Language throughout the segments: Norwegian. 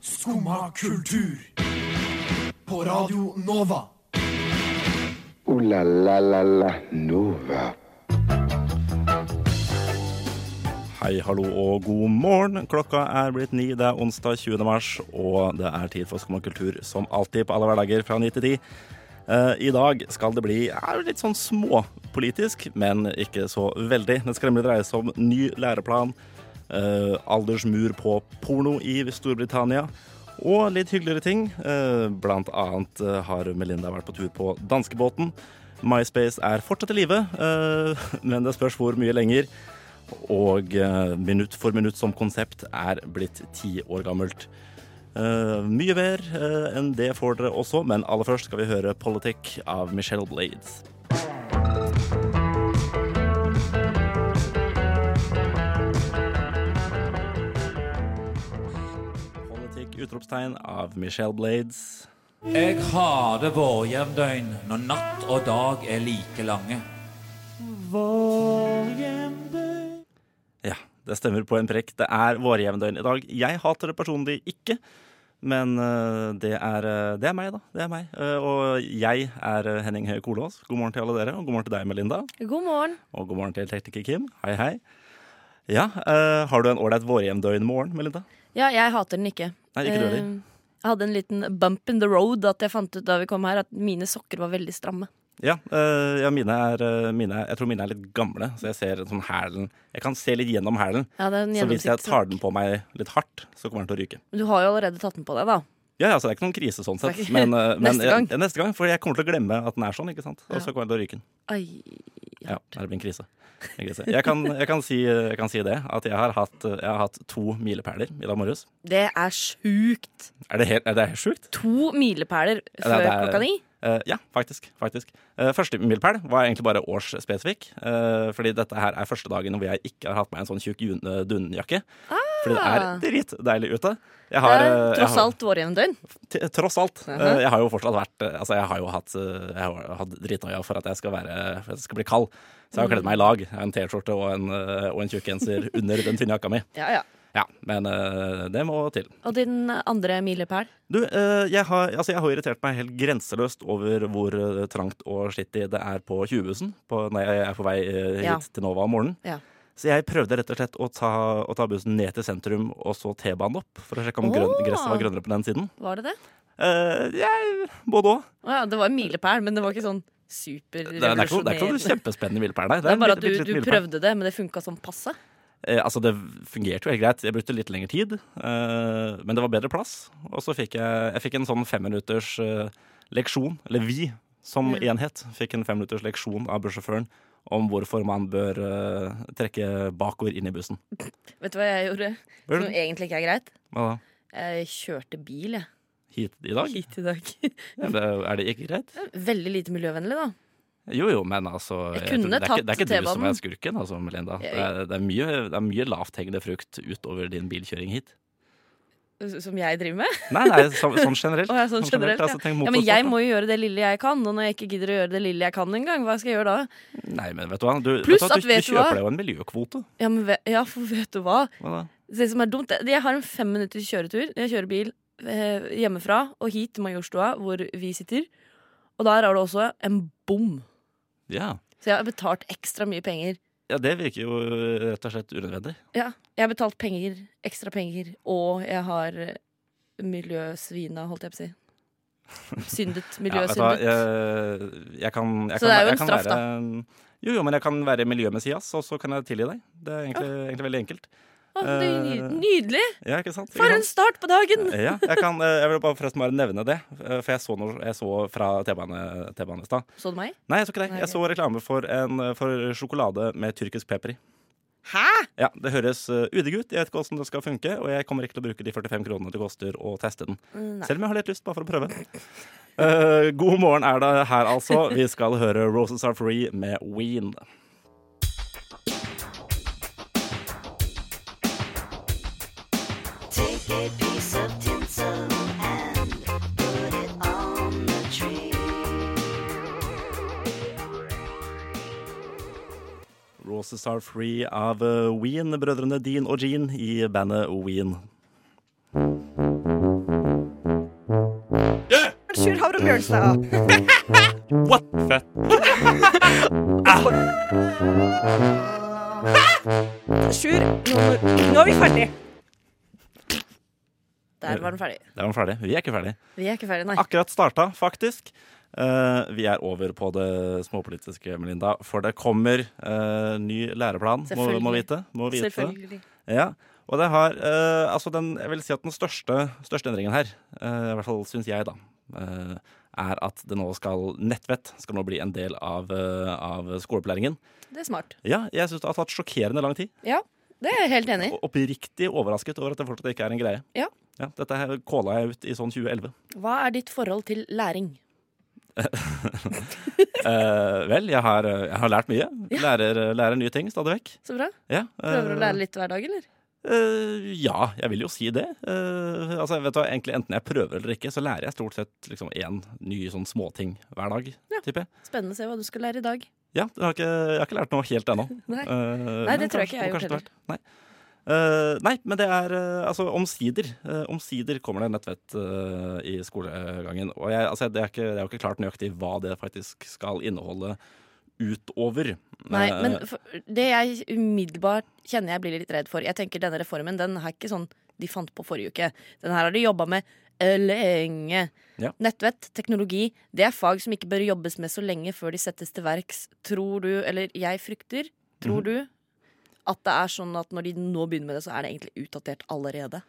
Skumma kultur. På Radio Nova. Ooh la la la la Nova. Hei, hallo og god morgen. Klokka er blitt ni. Det er onsdag 20. mars, og det er tid for Skumma kultur som alltid på alle hverdager fra 9 til 10. Eh, I dag skal det bli eh, litt sånn småpolitisk, men ikke så veldig. Det skal nemlig dreie seg om ny læreplan, eh, aldersmur på porno i Storbritannia, og litt hyggeligere ting. Eh, Blant annet eh, har Melinda vært på tur på danskebåten. MySpace er fortsatt i live, eh, men det spørs hvor mye lenger. Og eh, Minutt for minutt som konsept er blitt ti år gammelt. Eh, mye mer eh, enn det får dere også, men aller først skal vi høre 'Politikk' av Michelle Blades. Politikk utropstegn av Michelle Blades. Jeg hater vårjevndøgn når natt og dag er like lange. Ja, det stemmer på en prekk. Det er vårjevndøgn i dag. Jeg hater det personlig ikke, men øh, det er, øh, det er meg, da. Det er meg. Øh, og jeg er øh, Henning Høie Kolås. God morgen til alle dere, og god morgen til deg, Melinda. God morgen. Og god morgen til tekniker Kim. Hei, hei. Ja, øh, har du en ålreit vårjevndøgn-morgen, Melinda? Ja, jeg hater den ikke. Nei, ikke du Eh, heller. Jeg hadde en liten bump in the road at jeg fant ut da vi kom her at mine sokker var veldig stramme. Ja, øh, ja mine er, øh, mine, jeg tror mine er litt gamle, så jeg ser sånn hælen Jeg kan se litt gjennom hælen. Ja, det er en Så hvis jeg gjennomsiktig tar sokk. den på meg litt hardt, så kommer den til å ryke. Men Du har jo allerede tatt den på deg, da. Ja, ja, så det er ikke noen krise sånn sett. Takk. Men, eh, men Neste gang. Jeg, neste gang, for jeg kommer til å glemme at den er sånn, ikke sant? Og så kommer jeg til å ryke den. Ai. Ja, det blir en krise. En krise. Jeg, kan, jeg, kan si, jeg kan si det, at jeg har hatt, eh, jeg har hatt to milepæler i dag morges. Det er sjukt! Er det helt, er det helt sjukt? To milepæler før det er- klokka ni. Eh, ja, faktisk. faktisk. Eh, første milepæl var egentlig bare årsspesifikk. eh, fordi dette her er første dagen hvor jeg ikke har hatt meg en sånn tjukk jun- eh, dunjakke. Fordi det er dritdeilig ute. Jeg Ah. Det har, er eh, jeg tross har- alt vårjevndøgn. T- Tross alt. eh, Aha. Jeg har jo fortsatt vært eh, Altså, jeg har jo hatt eh, Jeg har hatt dritnoia for at jeg skal være For at jeg skal bli kald. Så jeg har kledd meg i lag. Jeg har En T-skjorte og en, eh, og en tjukkgenser under den tynne jakka mi. Ja, ja. Ja, men eh, det må til. Og din andre milepæl? Du, eh, jeg har, altså jeg har irritert meg helt grenseløst over hvor eh, trangt og skittig det er på 20-bussen på- når jeg er på vei eh, hit Ja. til Nova om morgenen. Ja. Så jeg prøvde rett og slett å ta, å ta bussen ned til sentrum og så T-banen opp, for å sjekke om grønn, Åh. gresset var grønnere på den siden. Var det det? Eh, jeg, både òg. Å ja, det var en milepæl, men det var ikke sånn Det er, det, er ikke, det er ikke noe superrevolusjonerende. kjempespennende milepæl der. Det er bare at en bitte du, liten du milepæl. prøvde det, men det funka sånn passe. Eh, altså, det fungerte jo helt greit. Jeg brukte litt lengre tid, eh, men det var bedre plass. Og så fikk jeg, jeg fikk en sånn femminutters eh, leksjon, eller vi som Ja. enhet fikk en femminutters leksjon av bussjåføren om hvorfor man bør eh, trekke bakord inn i bussen. Vet du hva jeg gjorde? Hva Som e- gjorde du? egentlig ikke er greit. Hva da? Jeg kjørte bil, jeg. Hit i dag? Hit i dag. Er det, er det ikke greit? Veldig lite miljøvennlig, da. Jo jo, men altså Jeg tror- kunne det, er ikke, det er tatt ikke du som T-banen. er skurken, altså, Melinda. Det Jeg- er, det er mye, det er mye lavthengende frukt utover din bilkjøring hit. S- Som jeg driver med. Nei, nei, så, sånn generelt. Å, ja, sånn generelt, altså, tenk Ja, men motorsport, jeg da. må jo gjøre det lille jeg kan, og når jeg ikke gidder å gjøre det lille jeg kan engang, hva skal jeg gjøre da? Nei, men vet du hva? Du, vet Pluss du, hva? at du, vet du du hva? kjøper deg jo en miljøkvote. Ja, men ve ja, for vet du hva? Hva da? Det som er dumt, det- jeg har en fem minutters kjøretur. Jeg kjører bil eh, hjemmefra og hit til Majorstua, hvor vi sitter. Og der er det også en bom. Ja. Så jeg har betalt ekstra mye penger. ja, det virker jo rett og slett unødvendig. Ja, jeg har betalt penger, ekstra penger, og jeg har eh, miljøsvina, holdt jeg på å si. Syndet. Ja, vet du hva? Miljøsyndet. Jeg, jeg kan, jeg Så det er jo kan, en straff, da. da. Jo, jo, men jeg kan være miljømessias, og så kan jeg tilgi deg. Det er egentlig, egentlig veldig enkelt. Å, det er ny- eh, Nydelig! Ja, ikke sant? For Ikke en sant? start på dagen! Ja, jeg, kan, eh, jeg vil bare forresten bare nevne det, eh, for jeg så, noe, jeg så fra T-bane- T-banen i stad. Så du meg? Nei, jeg så ikke det. Nei, Jeg ok. så reklame for, en, for sjokolade med tyrkisk pepper i. Hæ? Ja, Det høres eh, udigg ut. Jeg vet ikke hvordan det skal funke, og jeg kommer ikke til å bruke de 45 kronene det koster å teste den. Nei. Selv om jeg har litt lyst, bare for å prøve. Eh, god morgen er det her, altså. Vi skal høre Roses Are Free med Ween. Take a piece of tinsel and put it on the tree. Roses Are Free av eh, Ween, brødrene Dean og Jean i bandet Ween. for å bjørne seg av. What fett? Sjur, nå, nå er vi ferdig. Der var den ferdig. Der var den ferdig. Vi er ikke ferdig. Vi er ikke ferdig, nei. Akkurat starta, faktisk. Eh, vi er over på det småpolitiske, Melinda, for det kommer eh, ny læreplan, må, må Selvfølgelig. vite. Må vite. Selvfølgelig. Ja, og det har eh, altså den, Jeg vil si at den største, største endringen her, eh, i hvert fall syns jeg, da, eh, er at det nå skal nettvett skal nå bli en del av, eh, av skoleopplæringen. Det er smart. Ja, jeg syns det har tatt sjokkerende lang tid. Ja, det er jeg helt enig i. Og oppriktig overrasket over at det fortsatt ikke er en greie. Ja. dette her kåla jeg ut i sånn 2011. Hva er ditt forhold til læring? Eh, vel, jeg har, eh, jeg har lært mye. Lærer, eh, lærer nye ting stadig vekk. Så bra. Ja, Prøver å eh, lære litt hver dag, eller? Eh, ja, jeg vil jo si det. Eh, altså, vet du, hva, egentlig Enten jeg prøver eller ikke, så lærer jeg stort sett liksom én ny sånn småting hver dag. Ja. Tipper jeg. Spennende å se hva du skal lære i dag. Ja, jeg har, ikke, jeg har ikke lært noe helt ennå. Nei. Eh, Nei, men det tror jeg kanskje- ikke jeg har og gjort kanskje etter hvert. Nei. Eh, nei, men det er eh, altså omsider. eh, omsider kommer det nettvett eh, i skolegangen. Og jeg, altså, det, er ikke, det er jo ikke klart nøyaktig hva det faktisk skal inneholde utover. Nei, Eh, men for, det jeg umiddelbart kjenner jeg blir litt redd for Jeg tenker denne reformen, den er ikke sånn de fant på forrige uke. Den her har de jobba med eh, lenge. Ja. Nettvett, teknologi, det er fag som ikke bør jobbes med så lenge før de settes til verks. Tror du, eller jeg frykter, Mhm. tror du at det er sånn at når de nå begynner med det, så er det egentlig utdatert allerede?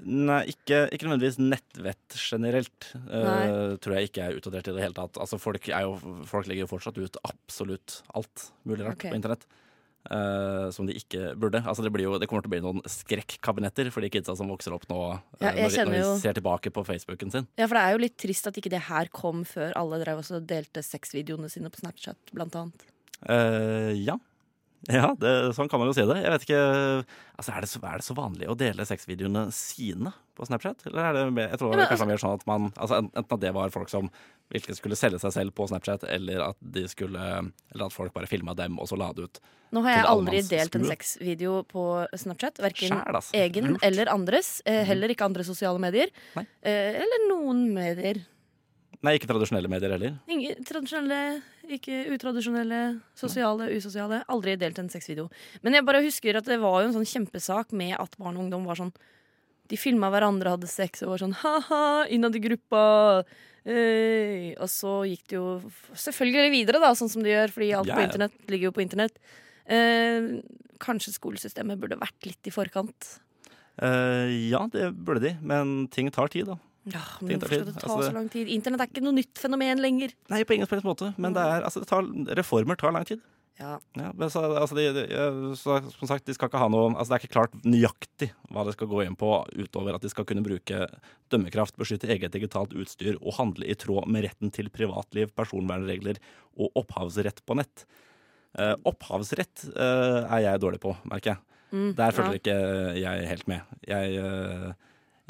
Nei, ikke, ikke nødvendigvis nettvett generelt. eh, Nei. tror jeg ikke er utdatert i det hele tatt. Altså, folk, er jo, folk legger jo fortsatt ut absolutt alt mulig rart Ok. på internett. eh, som de ikke burde. Altså, det, blir jo, det kommer til å bli noen skrekkabinetter for de kidsa som vokser opp nå, eh, Ja, jeg når, de- kjenner når jo- de ser tilbake på Facebooken sin. Ja, for det er jo litt trist at ikke det her kom før alle drev også og delte sexvideoene sine på Snapchat, blant annet. Eh, ja. Ja, det, sånn kan man jo si det. Jeg vet ikke, altså Er det så, er det så vanlig å dele sexvideoene sine på Snapchat? Eller er det mer, jeg tror Ja, men kanskje det er mer sånn at man, altså en- Enten at det var folk som virkelig skulle selge seg selv på Snapchat, eller at, de skulle, eller at folk bare filma dem og så la det ut. Nå har jeg Til aldri allmannsskue. delt en sexvideo på Snapchat. Verken Skjær, altså. egen Lurt. Mm. eller andres. Eh, heller ikke andre sosiale medier. Nei. Eh, eller noen medier. Nei, ikke tradisjonelle medier heller. Ingen tradisjonelle, ikke utradisjonelle, sosiale, usosiale. Aldri delt en sexvideo. Men jeg bare husker at det var jo en sånn kjempesak med at barn og ungdom var sånn De filma hverandre, hadde sex og var sånn ha-ha, innad i gruppa. Øy. Og så gikk det jo f- selvfølgelig videre, da, sånn som det gjør, fordi alt Ja, på ja. internett ligger jo på internett. Eh, kanskje skolesystemet burde vært litt i forkant. Eh, ja, det burde de, men ting tar tid, da. Ja, Ting men tar Hvorfor skal tid. det ta Altså, det- så lang tid? Internett er ikke noe nytt fenomen lenger. Nei, på ingen som helst måte, men det er, altså, det tar, reformer tar lang tid. Ja, Ja, men så, altså de, de, eh, så, som sagt, de skal ikke ha noe altså Det er ikke klart nøyaktig hva det skal gå inn på, utover at de skal kunne bruke dømmekraft, beskytte eget digitalt utstyr og handle i tråd med retten til privatliv, personvernregler og opphavsrett på nett. Eh, opphavsrett eh, er jeg dårlig på, merker jeg. Mm, Der følger ikke jeg helt med. Jeg, eh,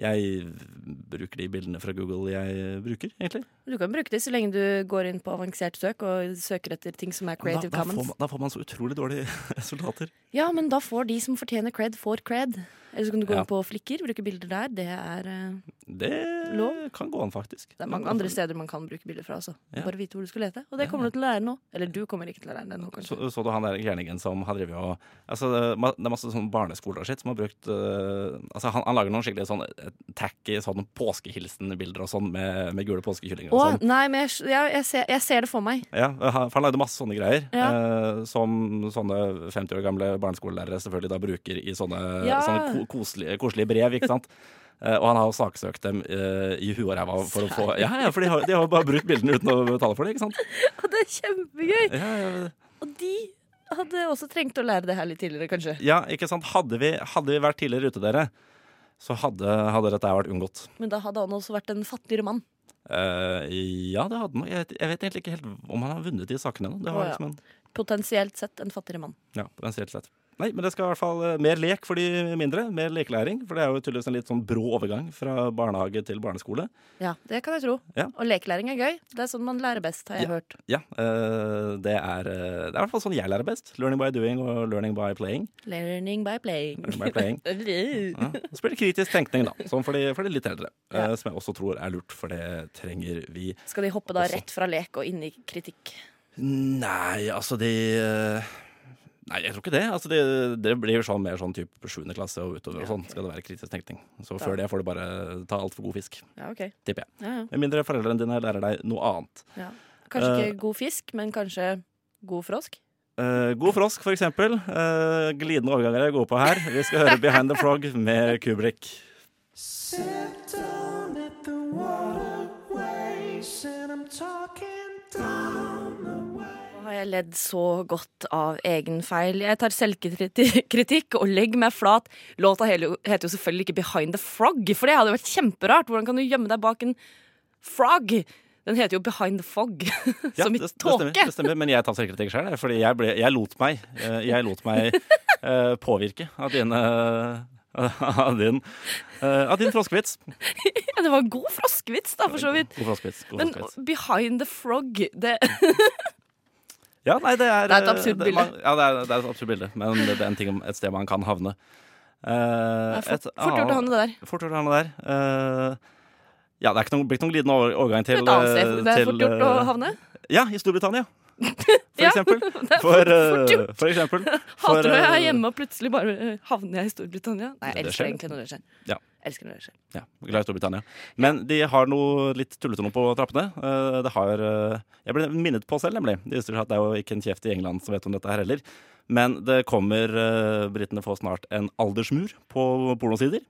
jeg bruker de bildene fra Google jeg bruker, egentlig. Du kan bruke det så lenge du går inn på avansert søk og søker etter ting som er Da, Creative da, får Commons. man, da får man så utrolig dårlige resultater. Ja, men da får de som fortjener cred, får cred. Eller så kan du gå Ja. inn på Flikker, bruke bilder der. Det er, eh, Det Lov? kan gå an, faktisk. det er mange andre steder man kan bruke bilder fra. Altså. Ja. Bare vite hvor du skal lete. Og det kommer du til å lære nå. Eller du kommer ikke til å lære det nå, kanskje. Så, så du han der gærningen som har drevet og altså, Det er ma- det er masse sånn barneskoler og sitt som har brukt eh, altså, han, han lager noen skikkelig sånn eh, tacky sånn påskehilsen-bilder og sånn med, med gule påskekyllinger Å, og sånn. nei, men jeg, jeg, jeg, ser, jeg ser det for meg. Ja, eh, han- for han lagde masse sånne greier Ja. eh, som sånne 50 år gamle barneskolelærere selvfølgelig da bruker i sånne, Ja. sånne ko koselige, koselige brev, ikke sant. Eh, og han har jo saksøkt dem eh, i huet og ræva for å få Ja, ja, for de har de har jo bare brukt bildene uten å betale for det, ikke sant. Og det er kjempegøy! Ja, ja, Og de hadde også trengt å lære det her litt tidligere, kanskje. Ja, ikke sant? Hadde vi, hadde vi vært tidligere ute, dere, så hadde, hadde dette vært unngått. Men da hadde han også vært en fattigere mann. Eh, ja, det hadde han. Jeg, vet- jeg vet egentlig ikke helt om han har vunnet de sakene ennå. Det Å, var ja. liksom en Potensielt sett en fattigere mann. Ja, potensielt sett. Nei, men det skal i hvert fall eh, mer lek for de mindre. Mer lekelæring. For det er jo tydeligvis en litt sånn brå overgang fra barnehage til barneskole. Ja, det kan jeg tro. Ja. Og lekelæring er gøy. Det er sånn man lærer best, har jeg hørt. Ja, eh, det er, eh, det er i hvert fall sånn jeg lærer best. Learning by doing og learning by playing. Learning by playing. Learning by playing. Ja. Og Så blir det kritisk tenkning, da. Sånn for de, for de litt eldre. eh, Som jeg også tror er lurt, for det trenger vi. Skal de hoppe da rett fra lek og inn i kritikk? Nei, altså de eh, Nei, jeg tror ikke det. Altså, det, det blir jo sånn mer sånn type 7. klasse og utover og sånn skal det være kritisk tenkning. Så før det får du bare ta altfor god fisk, Ja, ok. tipper jeg. Ja, ja. Med mindre foreldrene dine lærer deg noe annet. Ja. Kanskje ikke god fisk, men kanskje god frosk? Eh, god frosk, for eksempel. Eh, glidende overganger er jeg god på her. Vi skal høre Behind the Frog med Kubrick. Nå har jeg ledd så godt av egen feil. Jeg tar selvkritikk og legger meg flat. Låta hele- heter jo selvfølgelig ikke Behind the Frog, for det hadde jo vært kjemperart. Hvordan kan du gjemme deg bak en frog? Den heter jo Behind the Fog, som i det, det stemmer, tåke. det stemmer, men jeg tar selvkritikk sjøl, fordi jeg, ble, jeg lot meg, eh, jeg lot meg eh, påvirke av din, eh, av din, eh, av din froskevits. Ja, det var en god froskevits, da, for så vidt. God froskevits. God Men froskevits. Behind the Frog det, Ja, nei, det er Det er eh, et absurd det- bilde. man- Ja, det er, det er et absurd bilde, men det, det er en ting om et sted man kan havne. Uh, er fort- fort gjort å havne der. Fort gjort å havne der. Eh, ja, det er ikke noen, blir ikke noen glidende over- overgang til Et annet sted eh, det er til, fort gjort å eh, havne. Ja, i Storbritannia. For Ja, eksempel. er For, fort- fort eh, gjort. for eksempel. For, Hater når jeg er eh, hjemme og plutselig bare eh, havner jeg i Storbritannia. Nei, jeg Det elsker skjer. egentlig når det skjer. Ja. Elsker når det skjer. Ja, glad i Storbritannia. Men de har noe litt tullete noe på trappene. Eh, Det har eh, Jeg ble minnet på selv, nemlig. Det viser seg at det er jo ikke en kjeft i England som vet om dette her heller. Men det kommer eh, Britene får snart en aldersmur på pornosider.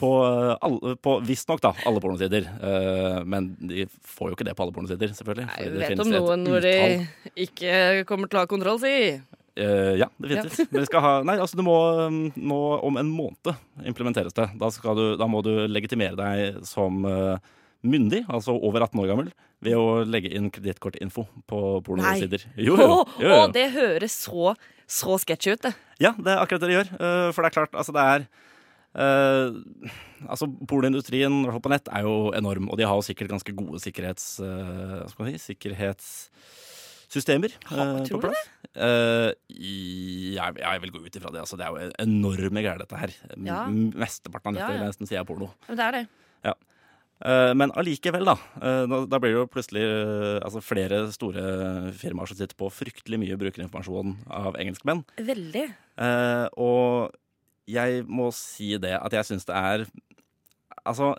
På, eh, alle- på visstnok, da, alle pornosider. Eh, Men de får jo ikke det på alle pornosider, selvfølgelig. Nei, fordi vi det vet finnes om et noen hvor de utall. ikke kommer til å ha kontroll, si. Eh, ja, definitivt. Men vi skal ha, nei, altså du må um, nå om en måned implementeres det. Da, skal du, da må du legitimere deg som eh, myndig, altså over 18 år gammel, ved å legge inn kredittkortinfo på pornosider. Jo, jo, Å, jo, jo. å, det høres så, så sketsj ut, det. Ja, det er akkurat det de gjør. Eh, for det er klart, altså det er eh, altså Pornoindustrien i hvert fall på nett er jo enorm, og de har jo sikkert ganske gode sikkerhets, eh, hva skal man si, sikkerhetssystemer eh, tror på du plass. Eh, i- jeg, jeg vil gå ut ifra det. altså Det er jo enorme greier, dette her. M- Ja. Mesteparten av dette Ja, ja. vil jeg nesten si er porno. Men det er det. Eh, Men allikevel, da. eh, Da da blir det jo plutselig eh, altså flere store firmaer som sitter på fryktelig mye brukerinformasjon av engelskmenn. Veldig. Eh, og jeg må si det at jeg syns det er Altså,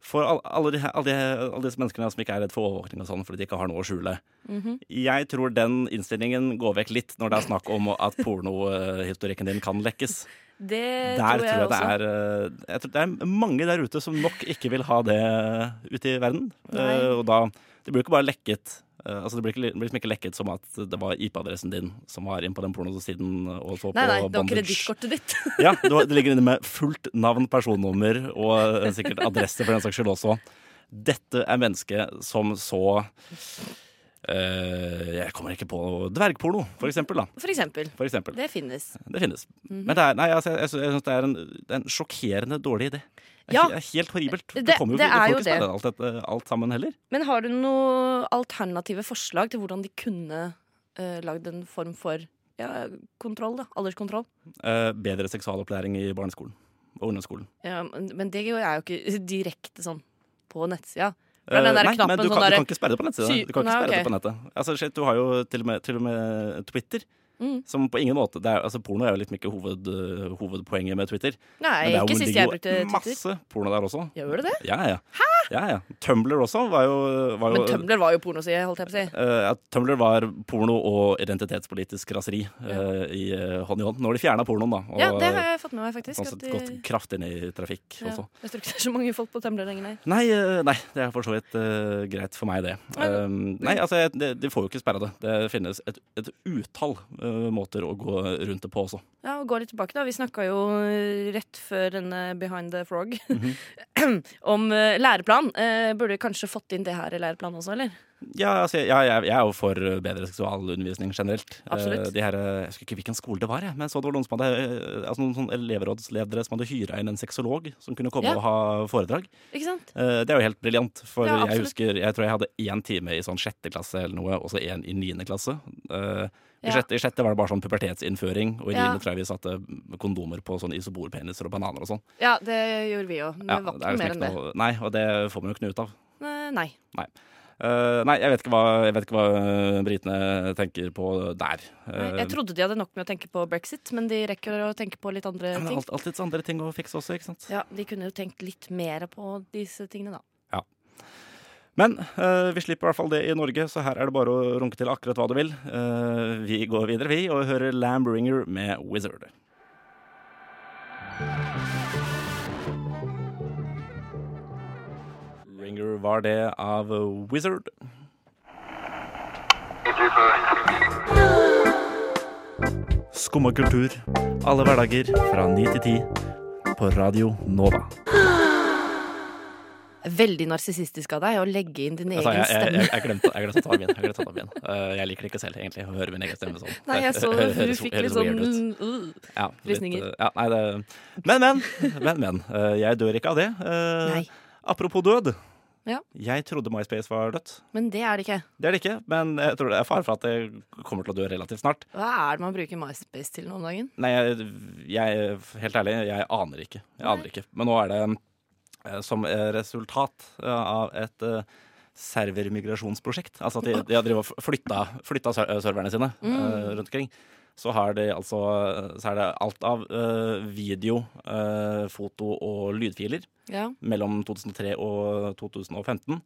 for al- alle, de, her- alle, de, alle disse menneskene som ikke er redd for overvåkning og sånn fordi de ikke har noe å skjule Jeg tror den innstillingen går vekk litt når det er snakk om at pornohistorikken din kan lekkes. Det der Eh, tror det jeg, også. er eh, Jeg tror det er mange der ute som nok ikke vil ha det ute i verden. Eh, Nei. og da Det blir jo ikke bare lekket. eh, altså Det blir, ikke, det blir liksom ikke lekket som at det var IP-adressen din som var inne på den pornosiden og så Nei, på nei, det var bondage. kredittkortet ditt. Ja, det, var, det ligger inne med fullt navn, personnummer og eh, sikkert adresse for den saks skyld også. Dette er mennesket som så eh, Jeg kommer ikke på dvergporno, for eksempel. Da. For eksempel. For eksempel. Det finnes. Det finnes. Mhm. Men det er, nei, altså, jeg, jeg syns det er en, det er en sjokkerende dårlig idé. Det er, Ja. he- det er helt horribelt. Det- du kommer jo det ikke, du er får jo ikke det. spille alt, dette, alt sammen heller. Men har du noen alternative forslag til hvordan de kunne eh, lagd en form for ja, kontroll, da? Alderskontroll? Eh, bedre seksualopplæring i barneskolen og ungdomsskolen. Ja, men men det er jo ikke direkte sånn på nettsida. For Eh, den der nei, knappen men du sånn kan, du der- kan ikke sperre det på nettsida. Sy- Du kan ikke Nei, sperre det ok. på nettet. Altså, shit, du har jo til og med, til og med eh, Twitter. Mm. Som på ingen måte det er, altså Porno er jo liksom ikke hoved, hovedpoenget med Twitter. men Nei, det er jo- ikke det sist ligger jeg jo brukte Twitter. Masse porno der også. Gjør du det? Ja, ja. ja, ja. Tumblr også var jo, var jo Men Tumblr var jo pornoside, holdt jeg på å si. Eh, at Tumblr var porno og identitetspolitisk raseri eh, i eh, hånd i hånd. Nå har de fjerna pornoen, da. Og Ja, det har jeg fått med meg, eh, faktisk. sånn At sett de, gått kraftig ned i trafikk ja, også. jeg tror ikke det er så mange folk på Tumblr lenger, nei. Nei, eh, nei, det er for så vidt eh, greit for meg, det. Um, nei, altså, jeg- det, de får jo ikke sperra det. Det finnes et, et utall eh, måter å gå rundt det på også. eh, Ja, og gå litt tilbake da Vi snakket jo rett før denne Behind the Frog Mhm. om eh, læreplan. Eh, burde kanskje fått inn det her i læreplanen også, eller? Ja, altså, jeg, jeg, jeg er jo for bedre seksualundervisning generelt. Absolutt. Eh, De her, eh, jeg husker ikke hvilken skole det var, jeg, men jeg så det var noen, som hadde, eh, altså, noen sånne elevrådsledere som hadde hyra inn en sexolog som kunne komme Ja. og ha foredrag. Ikke sant? Eh, Det er jo helt briljant, for Ja, jeg absolutt. husker Jeg tror jeg hadde én time i sånn sjette klasse eller noe, og så én i niende klasse. Eh, I, Ja. sjette, I sjette var det bare sånn pubertetsinnføring, og i Ja. niende tror jeg vi satte kondomer på sånn isoborpeniser og bananer og sånn. Ja, det gjorde vi òg. Men det var er ikke noe liksom mer enn det. noe- Nei, og det får man jo ikke noe ut av. Eh, Nei. Eh, nei, jeg vet ikke hva, jeg vet ikke hva eh, britene tenker på der. Eh, Nei, Jeg trodde de hadde nok med å tenke på brexit, men de rekker å tenke på litt andre men det er ting. alt, alltid så andre ting å fikse også, ikke sant? Ja, De kunne jo tenkt litt mer på disse tingene, da. Men eh, vi slipper i hvert fall det i Norge, så her er det bare å runke til akkurat hva du vil. Eh, vi går videre, vi, og hører Lambringer med Wizard. Ringer var det av Wizard. Skumma kultur. Alle hverdager fra ni til ti på Radio Nova. Veldig narsissistisk av deg å legge inn din egen Altså, jeg, jeg, stemme. jeg, jeg, glemte, jeg glemte å ta av min. Jeg, glemte å ta av min. Eh, jeg liker det ikke selv, egentlig, å høre min egen stemme sånn. Nei, jeg så Høres- du høres- fikk litt høres sånn weird ut. uh, Ja, litt, frysninger. eh, ja, nei, det, men, men. men, men eh, jeg dør ikke av det. Eh, uh. Nei. Apropos død. Ja. Jeg trodde MySpace var dødt. Men det er det ikke. Det er det ikke, men jeg tror det er fare for at det kommer til å dø relativt snart. Hva er det man bruker MySpace til nå om dagen? Nei, jeg, jeg Helt ærlig, jeg aner ikke. Jeg aner ikke. Men nå er det eh, som eh, resultat eh, av et eh, servermigrasjonsprosjekt. Altså at de, de har drevet og f- flytta, flytta ser- eh, serverne sine eh, rundt omkring. Så, har de altså, så er det alt av eh, video, eh, foto og lydfiler Ja, mellom 2003 og 2015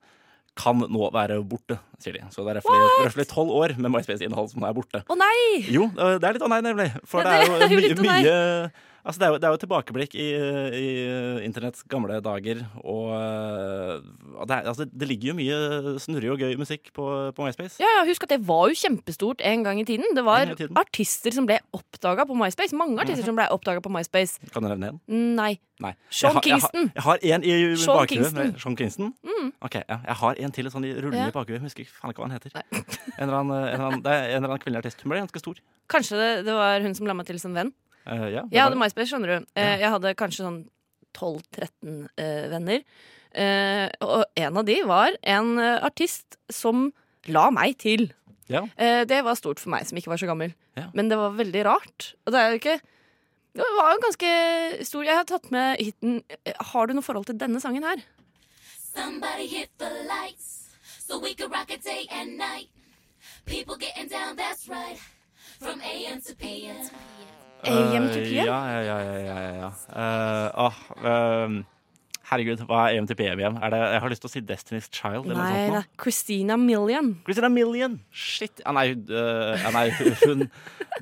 kan nå være borte, sier de. Så det er røftlig- røftlig tolv år med MySpace-innhold som er borte. Å nei! Jo, øh, det er litt å nei, nemlig. For Ja, det er det er jo jo mye, litt å nei. mye Altså, det er jo, det er jo tilbakeblikk i, i eh, internetts gamle dager, og, øh, og det, er, altså, det ligger jo mye snurrig og gøy musikk på, på MySpace. Ja, ja, Husk at det var jo kjempestort en gang i tiden. Det var En gang i tiden. Mhm. artister som ble oppdaga på MySpace. Mange artister som ble oppdaga på MySpace. Kan du nevne én? Nei. Nei. Sean Jeg har- Kingston. Jeg har, jeg har en i Sean bakhuet. Kingston. Mm. med- Sean Kingston? Ok, ja. Jeg har en til sånn i rullende Ja. i bakhuet. Jeg Husker ikke faen ikke hva han heter. En eller annen, en eller annen, det er en eller annen kvinnelig artist. Hun ble ganske stor. Kanskje det, det var hun som la meg til som venn. Eh, ja, det Jeg var- hadde MySpace, skjønner du. Eh, Jeg hadde kanskje sånn 12-13 eh, venner. Eh, og en av de var en eh, artist som la meg til. Ja. Eh, det var stort for meg som ikke var så gammel. Ja. Men det var veldig rart. Og det er jo ikke Det var jo ganske stor Jeg har tatt med hiten eh, Har du noe forhold til denne sangen her? Somebody hit the lights so we could rock it day and night. People getting down, that's right. From AM to PM. AM to PM? Eh, Ja, ja, ja. ja, ja, ja, ja. Eh, ah, ehm, herregud, hva er E MTPM igjen? Er det, jeg har lyst til å si Destiny's Child eller Nei, noe det sånt. er Christina Million. nå. Christina Million! Shit! Ja, nei, eh, ja, nei hun,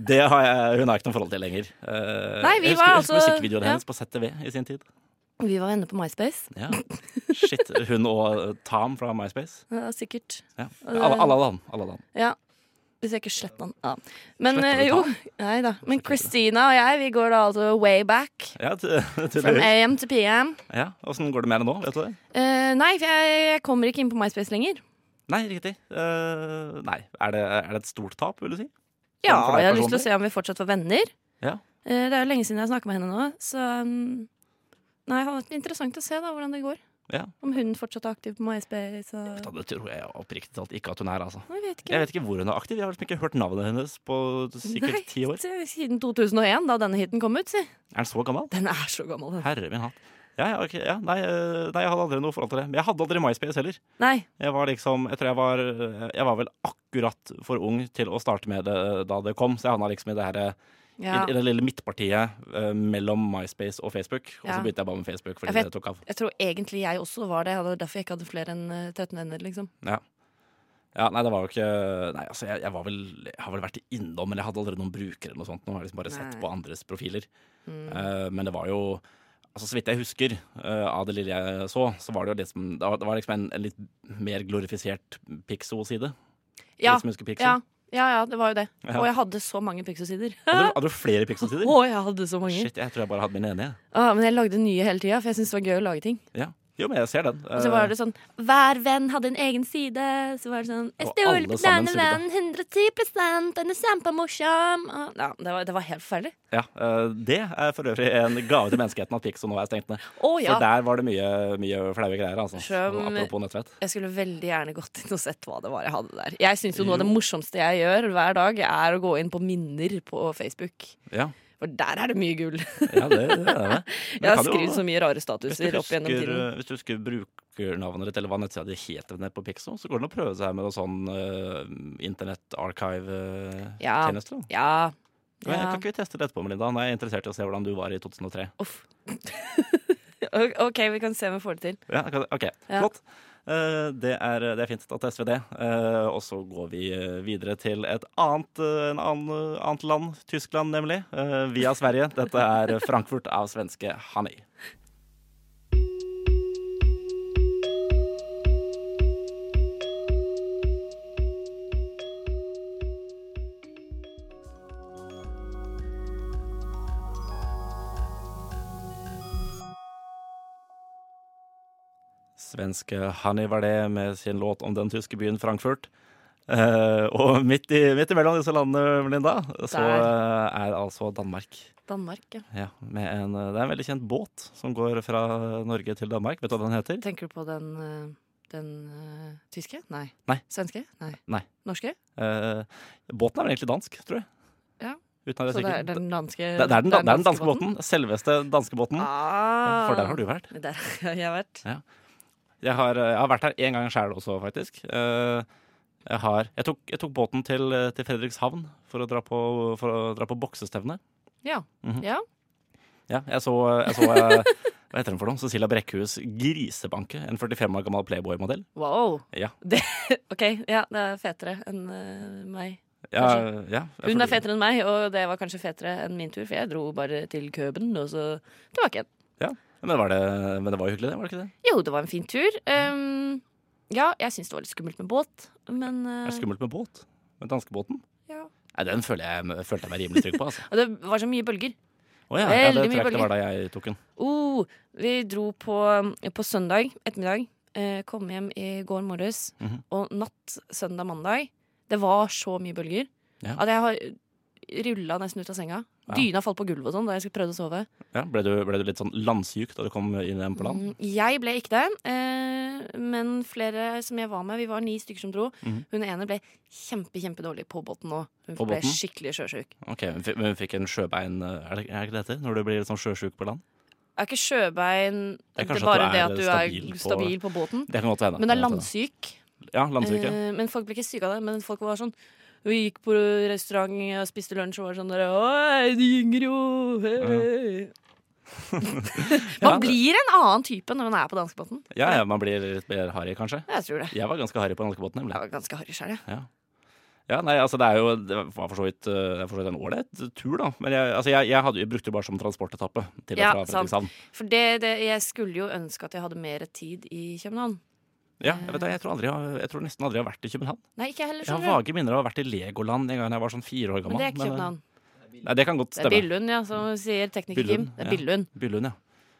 det har jeg, hun har jeg ikke noe forhold til lenger. Eh, Nei, vi jeg husker, var jeg husker altså- musikkvideoen ja. hennes på ZTV i sin tid. Vi var venner på MySpace. Ja. Shit, Hun og Tam fra MySpace. Ja, sikkert. Ja. Alle, alle, alle, han, alle han. Ja. Hvis jeg ikke sletter den. Ja. Men Sletter eh, du jo. den? Nei da. Men Christina og jeg, vi går da altså way back. Ja, t- From tydeligvis. AM til PM. ja, Åssen går det med henne nå? Vet du det? Eh, nei, for jeg, jeg kommer ikke inn på MySpace lenger. Nei, riktig. Eh, nei. Er det, er det et stort tap, vil du si? Ja, for deg jeg har lyst til personlig? å se om vi fortsatt var venner. Ja. Eh, det er jo lenge siden jeg har snakka med henne nå, så um, Nei, det hadde vært interessant å se da hvordan det går. Ja. Om hun fortsatt er aktiv på MySpace Da, og Det tror jeg oppriktig talt ikke at hun er, altså. Nei, Jeg vet ikke. Jeg vet ikke hvor hun er aktiv. Jeg har liksom ikke hørt navnet hennes på Nei, sikkert ti år. se, Siden 2001, da denne hiten kom ut, si. Er hun så gammel? Den er så gammel, den. Herre min hatt. Ja, ja, ok, ja. Nei, eh, nei, jeg hadde aldri noe forhold til det. Men jeg hadde aldri MySpace heller. Nei. Jeg var liksom, jeg tror jeg var eh, Jeg var vel akkurat for ung til å starte med det eh, da det kom, så jeg havna liksom i det her eh, Ja. i, I det lille midtpartiet eh, mellom MySpace og Facebook. Og så Ja. begynte jeg bare med Facebook fordi Jeg vet- det tok av. Jeg tror egentlig jeg også var det. Det var derfor jeg ikke hadde flere enn eh, 13 venner. liksom Ja. ja. Nei, det var jo ikke Nei, altså, jeg, jeg var vel Jeg har vel vært innom, men jeg hadde aldri noen brukere eller noe sånt. Nå har jeg liksom bare sett Nei. Mm. på andres profiler. Eh, men det var jo Altså, Så vidt jeg husker eh, av det lille jeg så, så var det jo liksom Det var, det var liksom en, en litt mer glorifisert Pixo-side. Ja, De som husker Pixo. ja, ja, ja det var jo det. liksom. Ja. Og jeg hadde så mange Pixo-sider. Hadde, du- hadde du flere Pixo-sider? Å, jeg hadde så mange. Shit, jeg tror jeg bare hadde min ene. jeg. Ah, men jeg lagde nye hele tida, for jeg syntes det var gøy å lage ting. Ja. Jo, men jeg ser den. Og så var det sånn Hver venn hadde en egen side. Så var det sånn Jeg Og stoler alle på sammen denne vennen 110 Den er kjempemorsom. Og- Ja, det var, det var helt forferdelig. Ja, eh, Det er for øvrig en gave til menneskeheten at Pixo nå er stengt ned. Å ja. For der var det mye, mye flaue greier, altså. Som- Apropos nettvett. Jeg skulle veldig gjerne gått inn og sett hva det var jeg hadde der. Jeg syns jo noe av det morsomste jeg gjør hver dag, er å gå inn på minner på Facebook. Ja, For der er det mye gull. ja det, det er det. Men Jeg har kan jo- skrevet så mye rare Hvis du statuser opp gjennom husker, eh, tiden. hvis du husker brukernavnet ditt, eller hva nettsida di heter nede på Pixo, så går det an å prøve seg med noe sånn uh, Internett Ja. Archive-tjeneste. Ja. ja. Kan ikke vi teste det etterpå, Melinda? Nå er jeg interessert i å se hvordan du var i 2003. Uff. OK, vi kan se om vi får det til. Ja, ok, ok, Ja. flott. Eh, det, er, det er fint at SV det. Eh, og så går vi eh, videre til et annet, eh, en annen, annet land, Tyskland nemlig, eh, via Sverige. Dette er Frankfurt av svenske Honey. Svenske Honey var det med sin låt om den tyske byen Frankfurt. Eh, og midt, i, midt imellom disse landene, Melinda, så Der. eh, er altså Danmark. Danmark, ja. Ja, med en, eh, det er en veldig kjent båt som går fra Norge til Danmark. Vet du hva den heter? Tenker du på den, eh, den eh, tyske? Nei. Nei. Svenske? Nei. Nei. Norske? Eh, båten er vel egentlig dansk, tror jeg. Ja. Uten at Så jeg det er er sikker. den danske Det, det er den, da- det er den danske båten. Selveste danskebåten. Ah. For der har du vært. Der har jeg vært. Jeg har, eh, jeg har vært her én gang sjæl også, faktisk. Eh, Jeg, har, jeg, tok, jeg tok båten til, eh, til Fredrikshavn for å dra på, for å dra på boksestevne. Ja. Mhm. ja. Ja, jeg så, jeg så eh, Hva heter hun for noe? Cecilia Brekkhus grisebanke. En 45 år gammel Playboy-modell. Wow. Ja. OK, ja, det er fetere enn eh, meg. Ja, ja, jeg Hun føler- er fetere enn meg, og det var kanskje fetere enn min tur, for jeg dro bare til Køben og så tilbake igjen. Men, var det, men det var jo hyggelig, det? var det ikke det? Jo, det var en fin tur. Um, ja, jeg syns det var litt skummelt med båt, men eh, Det er skummelt med båt. Med danskebåten. Ja. Nei, den føler jeg, følte jeg meg rimelig trygg på. altså. Og det var så mye bølger. Å ja, ja, det tror jeg Veldig mye ikke det bølger. var da jeg tok den. Oh, vi dro på, på søndag ettermiddag. Eh, kom hjem i går morges. Mhm. Og natt søndag mandag Det var så mye bølger Ja. at jeg har rulla nesten ut av senga. Ja. Dyna falt på gulvet og sånn da jeg skulle prøvde å sove. Ja, ble, du, ble du litt sånn landsyk da du kom inn igjen på land? Mm, Jeg ble ikke det, eh, men flere som jeg var med, vi var ni stykker som dro. Mhm. Hun ene ble kjempe, kjempedårlig på båten nå. Hun På ble båten? skikkelig sjøsjuk. Ok, men fi- Men fikk en sjøbein eh, Er det er det ikke det det heter? Når du blir litt sånn sjøsjuk på land? Er ikke sjøbein Det er det kanskje at er bare du det er at du er stabil stabil på- på, båten? Det kan godt hende. Men det er kan godt hende. landsyk. Ja, landsyk. ja. Eh, men folk ble ikke syke av det. Men folk var sånn Vi gikk på restaurant og spiste lunsj og var sånn der Oi, de gynger jo! Hei, hei». Mhm. Ja, Man blir en annen type når man er på danskebåten. Ja, ja, man blir litt mer harry, kanskje. Jeg tror det. Jeg var ganske harry på danskebåten, nemlig. Jeg var ganske harry sjøl, jeg. Ja, nei, altså det er jo Det var for så vidt, eh, det er for så vidt en ålreit tur, da. Men jeg, altså jeg, jeg, hadde, jeg brukte det bare som transportetappe til og Ja, fra sant. Fredrikshavn. For det, det, jeg skulle jo ønske at jeg hadde mer tid i København. Ja, jeg, vet, det, jeg, tror aldri, jeg har- jeg tror nesten aldri jeg har vært i København. Nei, ikke Eh. jeg heller, Jeg har skjønner du. vage minner av å ha vært i Legoland en gang da jeg var sånn fire år gammel. Men det er ikke men, eh, København. Nei, det kan godt Det er stemme. Billund, ja, som sier tekniker-Kim. Billund, ja. Det er Billund. Billund, ja.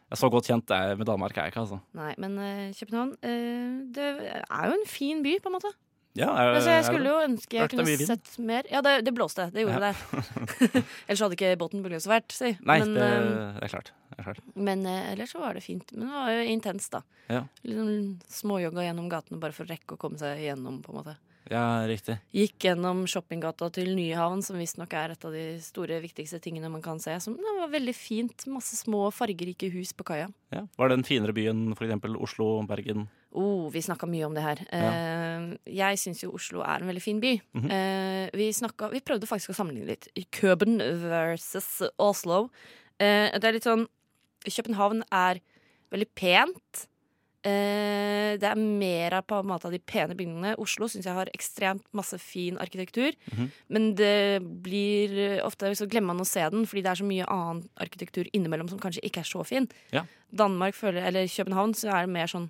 Jeg så godt kjent er med Danmark er jeg ikke, altså. Nei, men eh, København eh, Det er jo en fin by, på en måte. Ja, Eh, er, Altså, jeg er- skulle jo ønske jeg Hørte mye kunne vind. sett mer. Ja, det, det blåste. Det gjorde Ja. det. ellers hadde ikke båten muligens vært, si. Nei, men det, eh, det er klart. Det er klart. men eh, ellers så var det fint. Men det var jo intenst, da. Ja. Liksom småjogga gjennom gatene bare for å rekke å komme seg gjennom, på en måte. Ja, riktig. Gikk gjennom shoppinggata til Nyhavn, som visstnok er et av de store, viktigste tingene man kan se. Som det var veldig fint. Masse små, fargerike hus på kaia. Ja. Var det den finere byen, for eksempel Oslo, Bergen? Oh, vi snakka mye om det her. Eh, jeg syns jo Oslo er en veldig fin by. Mhm. Eh, vi, snakket, vi prøvde faktisk å sammenligne litt. Køben versus Oslo. Eh, det er litt sånn København er veldig pent. Eh, det er mer av på en måte av de pene bygningene. Oslo syns jeg har ekstremt masse fin arkitektur. Mhm. Men det blir ofte så glemmer man å se den, fordi det er så mye annen arkitektur innimellom som kanskje ikke er så fin. Ja. Danmark føler, eller København så er det mer sånn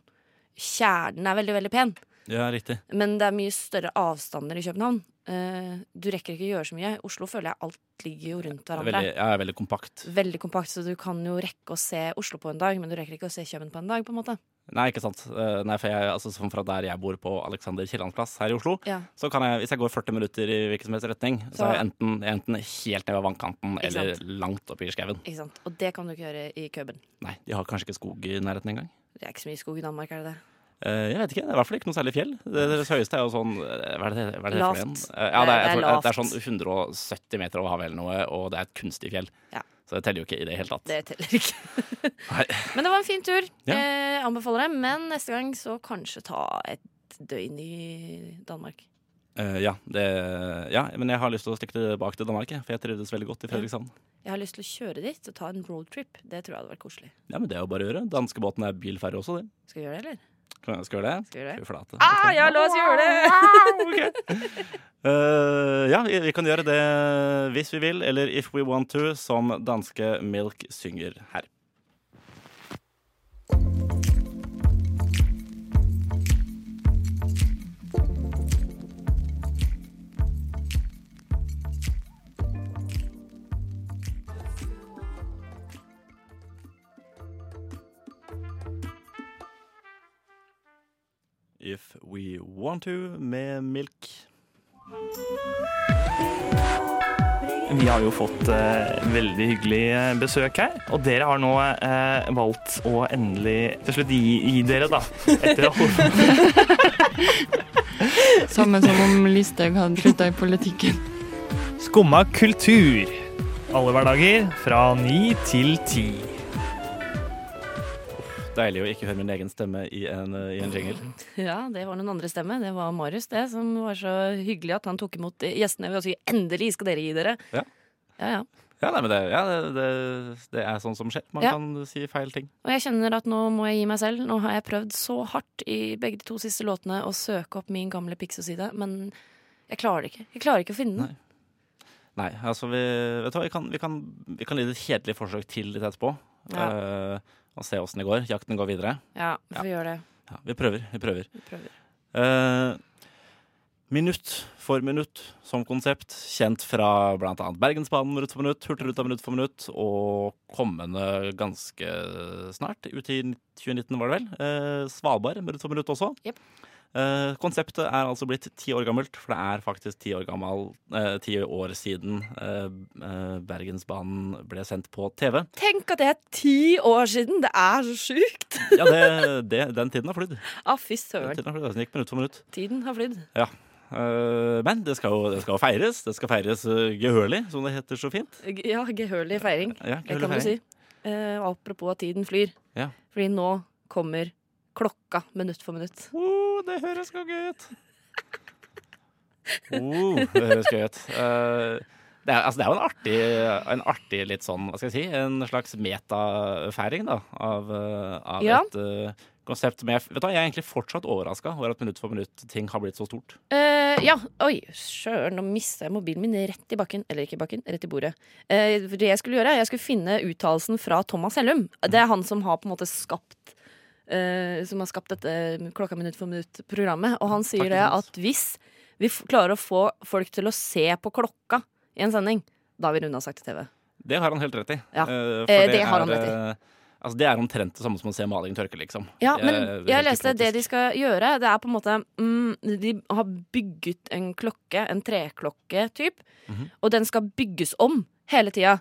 Kjernen er veldig, veldig pen, Ja, riktig. men det er mye større avstander i København. Eh, du rekker ikke å gjøre så mye. I Oslo føler jeg alt ligger jo rundt Det er hverandre. Veldig, ja, det er veldig kompakt. Veldig kompakt, så du kan jo rekke å se Oslo på en dag, men du rekker ikke å se København på en dag. på en måte Nei, ikke sant. Eh, Nei, for jeg, altså, sånn fra der jeg bor på Alexander Kiellands plass her i Oslo, Ja. så kan jeg, hvis jeg går 40 minutter i hvilken som helst retning, så, Så- er jeg enten, jeg er enten helt nede ved vannkanten Ikke eller sant. langt oppe i skauen. Ikke sant? Og det kan du ikke gjøre i Køben. Nei, de har kanskje ikke skog i nærheten engang. Det er ikke så mye skog i Danmark, er det det? Eh, jeg vet ikke, det er i hvert fall ikke noe særlig fjell. Det deres høyeste er jo sånn eh, Hva er det, hva er det for en? Lavt. Eh, Ja, det er, jeg Det er tror, det er lavt. sånn 170 meter over havet eller noe, og det er et kunstig fjell. Ja. Så det teller jo ikke i det hele tatt. Det teller ikke. Nei. men det var en fin tur. Ja. Eh, anbefaler det. Men neste gang så kanskje ta et døgn i Danmark. Eh, ja, det, ja, men jeg har lyst til å stikke tilbake til Danmark, jeg, for jeg trivdes veldig godt i Fredrikshavn. Jeg har lyst til å kjøre dit og ta en roadtrip. Det tror jeg hadde vært koselig. Ja, men det er jo bare å gjøre. Danskebåten er bilferge også, det. Skal vi gjøre det, eller? Skal skal vi gjøre det? Skal vi gjøre det? Fy flate. Ah, ja, la oss gjøre det! Eh, ja, vi, vi kan gjøre det hvis vi vil, eller if we want to, som danske Milk synger her. If we want to med Milk. Vi har jo fått eh, veldig hyggelig eh, besøk her, og dere har nå eh, valgt å endelig til slutt gi, gi dere, da. Etter å, Samme som om Listhaug hadde slutta i politikken. skumma kultur. Alle hverdager fra ni til ti. Deilig å ikke høre min egen stemme i en, eh, i en jingle. Ja, det var noen andre stemme. Det var Marius, det, som var så hyggelig at han tok imot gjestene ved å si 'endelig skal dere gi dere'. Ja. ja, ja. Ja, nei, men det, ja det, det, det er sånn som skjer. Man Ja. kan si feil ting. Og jeg kjenner at nå må jeg gi meg selv. Nå har jeg prøvd så hardt i begge de to siste låtene å søke opp min gamle Pixo-side, men jeg klarer det ikke. Jeg klarer ikke å finne den. Nei, altså vi, vet du hva, vi kan, vi kan, vi kan gi det et kjedelig forsøk til litt etterpå. eh, og se åssen det går. Jakten går videre. Ja, vi får gjøre det. Ja, vi prøver. Vi prøver. Vi prøver. Eh, minutt for minutt som konsept, kjent fra bl.a. Bergensbanen minutt for minutt, Hurtigruta minutt for minutt, og kommende ganske snart, ut i 2019 var det vel, eh, Svalbard minutt for minutt også. Jep. Eh, konseptet er altså blitt ti år gammelt, for det er faktisk ti år, gammel, eh, ti år siden eh, eh, Bergensbanen ble sendt på TV. Tenk at det er ti år siden! Det er så sjukt! Ja, det, det, den tiden har flydd. Ah, fy Den søren. tiden har flydd, altså, den gikk minutt for minutt. Tiden har flydd. Eh, men det skal jo det skal jo feires. Det skal feires eh, gehørlig, som det heter så fint. G- Ja, gehørlig feiring. Ja, Det kan du si. Eh, og apropos at tiden flyr. Ja. Fordi nå kommer klokka minutt for minutt. Oh, det høres gøy ut. Oh, det høres gøy ut. Eh, det, er, altså, det er jo en artig, en artig litt sånn, hva skal jeg si, en slags metafeiring da, av, eh, av Ja. et eh, konsept som jeg Vet du hva, jeg er egentlig fortsatt overraska over at minutt for minutt ting har blitt så stort. Eh, ja, oi, sjøren, nå mista jeg mobilen min rett i bakken. Eller ikke i bakken, rett i bordet. Eh, for det jeg skulle gjøre, jeg skulle finne uttalelsen fra Thomas Hellum. Det er han som har på en måte skapt eh, Som har skapt dette Klokka minutt for minutt-programmet. Og han sier Takk, det Thomas. at hvis vi f klarer å få folk til å se på klokka i en sending, da har vi runda sak til TV. Det har han helt rett i. Ja, Eh, for eh, det har han er, rett i. eh, Altså, det er omtrent det samme som å se maling tørke, liksom. Ja, Det er- men det er jeg helt leste det idiotisk. de skal gjøre. Det er på en måte mm, De har bygget en klokke, en treklokke-typ, Mhm. og den skal bygges om hele tida.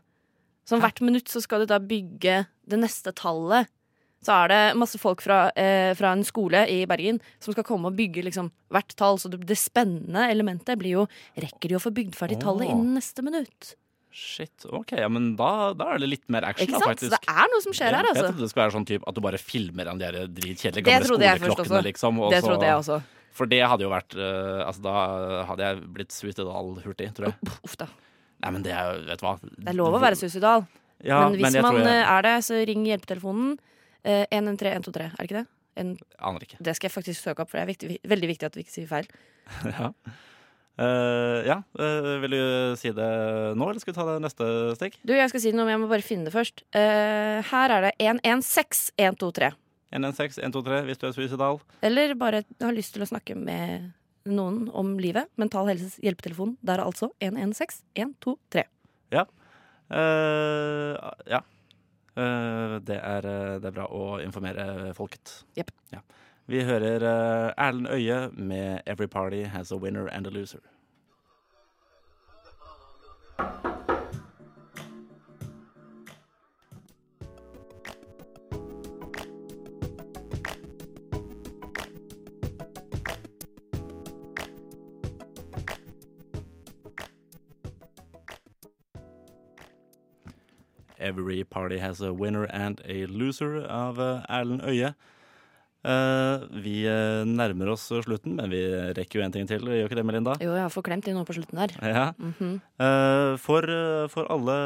Så hvert minutt så skal du da bygge det neste tallet. Så er det masse folk fra, eh, fra en skole i Bergen som skal komme og bygge liksom hvert tall. Så det, det spennende elementet blir jo Rekker de å få bygd ferdig tallet Åh. innen neste minutt? Shit, ok, ja, men da, da er det litt mer action Ikke da, sant? Så faktisk. det er noe som skjer her, Jeg altså. trodde det skulle være sånn typ at du bare filmer de der dritkjedelige Det gamle trodde jeg først skoleklokkene, også. liksom. og Det så- trodde jeg også. For det hadde jo vært eh, Altså, da hadde jeg blitt suicidal hurtig, tror jeg. Uff da. Nei, men det er jo Vet du hva. Det er lov å være suicidal. Ja, men hvis jeg tror man jeg- eh, er det, så ring hjelpetelefonen. Eh, 113 123, er det ikke det? En, Aner ikke. det skal jeg faktisk søke opp, for det er viktig, veldig viktig at vi ikke sier feil. ja. Eh, ja. eh, vil du si det nå, eller skal vi ta det neste stikk? Du, jeg skal si det nå, men jeg må bare finne det først. Eh, her er det 116 123. 116 123 hvis du er suicidal. Eller bare har lyst til å snakke med noen om livet. Mental Helses hjelpetelefon. Der er altså 116 123. Eh, ja. Eh, det, er, eh, det er bra å informere folket. Jepp. Ja. Vi hører eh, Erlend Øye med 'Every Party Has a Winner and a Loser'. Every Party Has a Winner and a Loser av eh, Erlend Øye. Eh, vi eh, nærmer oss slutten, men vi rekker jo en ting til, gjør ikke det, Melinda? Jo, jeg har forklemt det nå på slutten der. Ja. Mhm. Eh, for eh, for alle,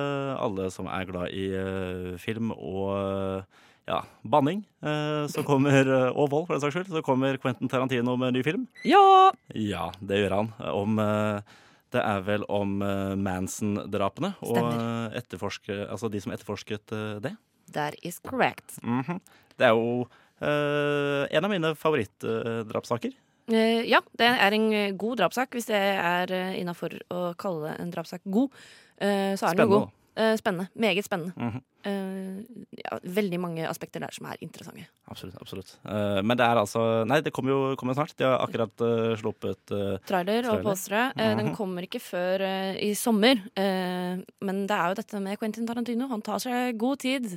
alle som er glad i eh, film og eh, ja, banning, eh, så kommer, eh, og vold for den saks skyld, så kommer Quentin Tarantino med en ny film. Ja! Ja, det gjør han. Om eh, Det er vel om eh, Manson-drapene. Og Stemmer. eh, etterforske, altså de som etterforsket eh, det. That is correct. Mhm. Det er jo eh, en av mine favorittdrapssaker. Eh, ja, det er en eh, god drapssak, hvis det er uh, innafor å kalle en drapssak god. eh, så er den Spennende, jo god. Eh, spennende. Meget spennende. Mhm. Eh, ja, veldig mange aspekter der som er interessante. Absolutt. absolutt. Eh, men det er altså Nei, det kommer jo kommer snart. De har akkurat eh, sluppet eh, Trailer og postere. Eh, Den Mhm. kommer ikke før eh, i sommer. Eh, men det er jo dette med Quentin Tarantino. Han tar seg god tid.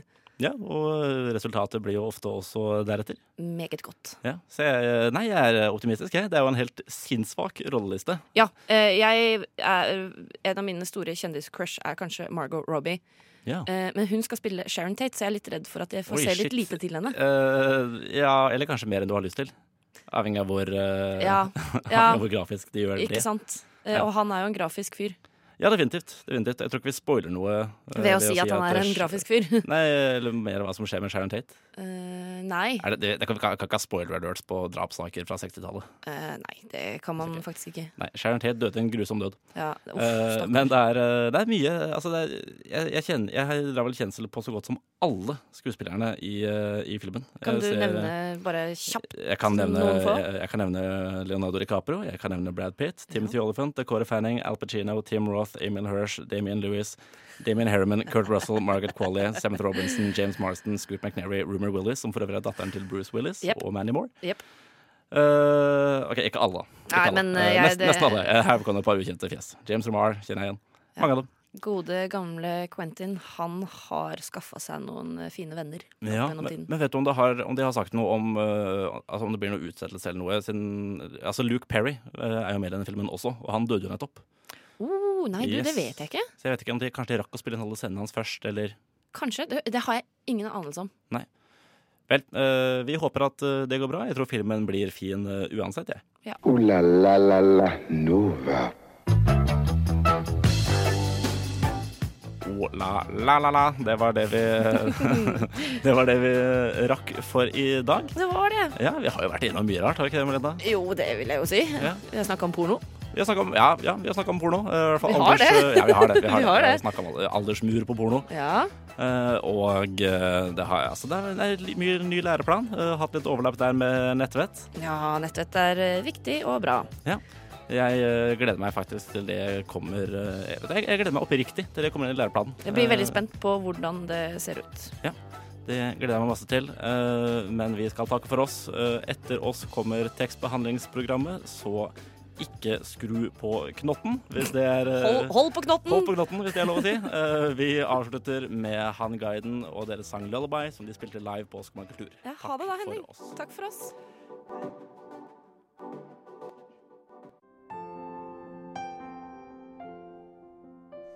Ja, og eh, resultatet blir jo ofte også deretter. Meget godt. Ja, så jeg, eh, nei, jeg er optimistisk, jeg. Det er jo en helt sinnssvak rolleliste. Ja. eh, jeg er, en av mine store kjendiscrush er kanskje Margot Robbie. Ja. Eh, men hun skal spille Sharon Tate, så jeg er litt redd for at jeg får Oi, se litt shit. lite til henne. Eh, ja, eller kanskje mer enn du har lyst til. Avhengig av hvor, eh, Ja, avhengig ja. av hvor grafisk de gjør det. Ikke sant? Eh, Ja. Og han er jo en grafisk fyr. Ja, definitivt. definitivt. Jeg tror ikke vi spoiler noe eh, Ved å si at han er det en grafisk fyr. eh, Nei, eller mer hva som skjer med Sharon Tate. Eh, nei. Er det, det, det kan, kan, kan ikke ha spoiler alerts på drapssaker fra 60-tallet. Eh, nei, det kan man faktisk ikke. Nei, Sharon Tate døde en grusom død. Ja, uff, Eh, stakkars. men det er, eh, det er mye altså det er, jeg, jeg, kjenner, jeg drar vel kjensel på så godt som alle skuespillerne i, eh, i filmen. Kan Jeg du ser- nevne bare kjapt Jeg kan nevne, noen få? jeg, jeg kan nevne Leonardo DiCaprio, jeg kan nevne Brad Pitt, Timothy Oliphant, Decore Fanning, Al Pacino, Tim Roth, Emil Hirsch, Damien Lewis, Damien Herman, Kurt Russell, Margaret Qualley, Samantha Robinson, James Marston, Scoop McNary, Rumor Willis, som for øvrig er datteren til Bruce Willis, Yep. og Manny Moore. Jepp. Eh, ok, ikke alle. Ikke Nei, alle. men, Eh, jeg- nesten, det- nesten alle. Eh, Her kom det et par ukjente fjes. James Romar kjenner jeg igjen. Mange av dem. Gode, gamle Quentin, han har skaffa seg noen eh, fine venner. opp Ja, gjennom men, tiden. men vet du om, det har, om de har sagt noe om eh, Altså om det blir noe utsettelse eller noe? Siden, altså Luke Perry eh, er jo med i denne filmen også, og han døde jo nettopp. Oh, nei, du, det Yes. vet jeg ikke. Så jeg vet ikke om de kanskje de rakk å spille inn alle scenene hans først, eller Kanskje. Det, det har jeg ingen anelse om. Vel, eh, vi håper at eh, det går bra. Jeg tror filmen blir fin eh, uansett, jeg. Ooh la la la la Nova. Oh, la, la, la, la. Det var det vi Det var det vi eh, rakk for i dag. Det var det. Ja, vi har jo vært innom mye rart, har vi ikke det, Melinda? Jo, det vil jeg jo si. Ja. Vi har snakka om porno. Vi har snakka om, ja, ja, vi har snakket om porno. eh, i hvert fall Vi har alders- det. Ja, vi har det. Vi Vi har, har det. Vi har det. snakket om alder- aldersmur på porno. Ja. Eh, og eh, det har jeg. Altså, det er, det er li- mye ny læreplan. Eh, hatt litt overlapp der med nettvett. ja, nettvett er eh, viktig og bra. Jeg eh, gleder meg faktisk til det kommer eh, jeg, vet- jeg, jeg gleder meg oppriktig til det kommer inn i læreplanen. Jeg blir veldig Eh, spent på hvordan det ser ut. Det gleder jeg meg masse til. Eh, men vi skal takke for oss. Eh, etter oss kommer tekstbehandlingsprogrammet, så ikke skru på knotten hvis det er eh, Hold, hold på knotten! Hold på knotten, hvis det er lov å si. Eh, vi avslutter med Han Guiden og deres sang 'Lullaby', som de spilte live på Skoman kultur. Ja, ha det da, for Henning. oss. Takk for oss.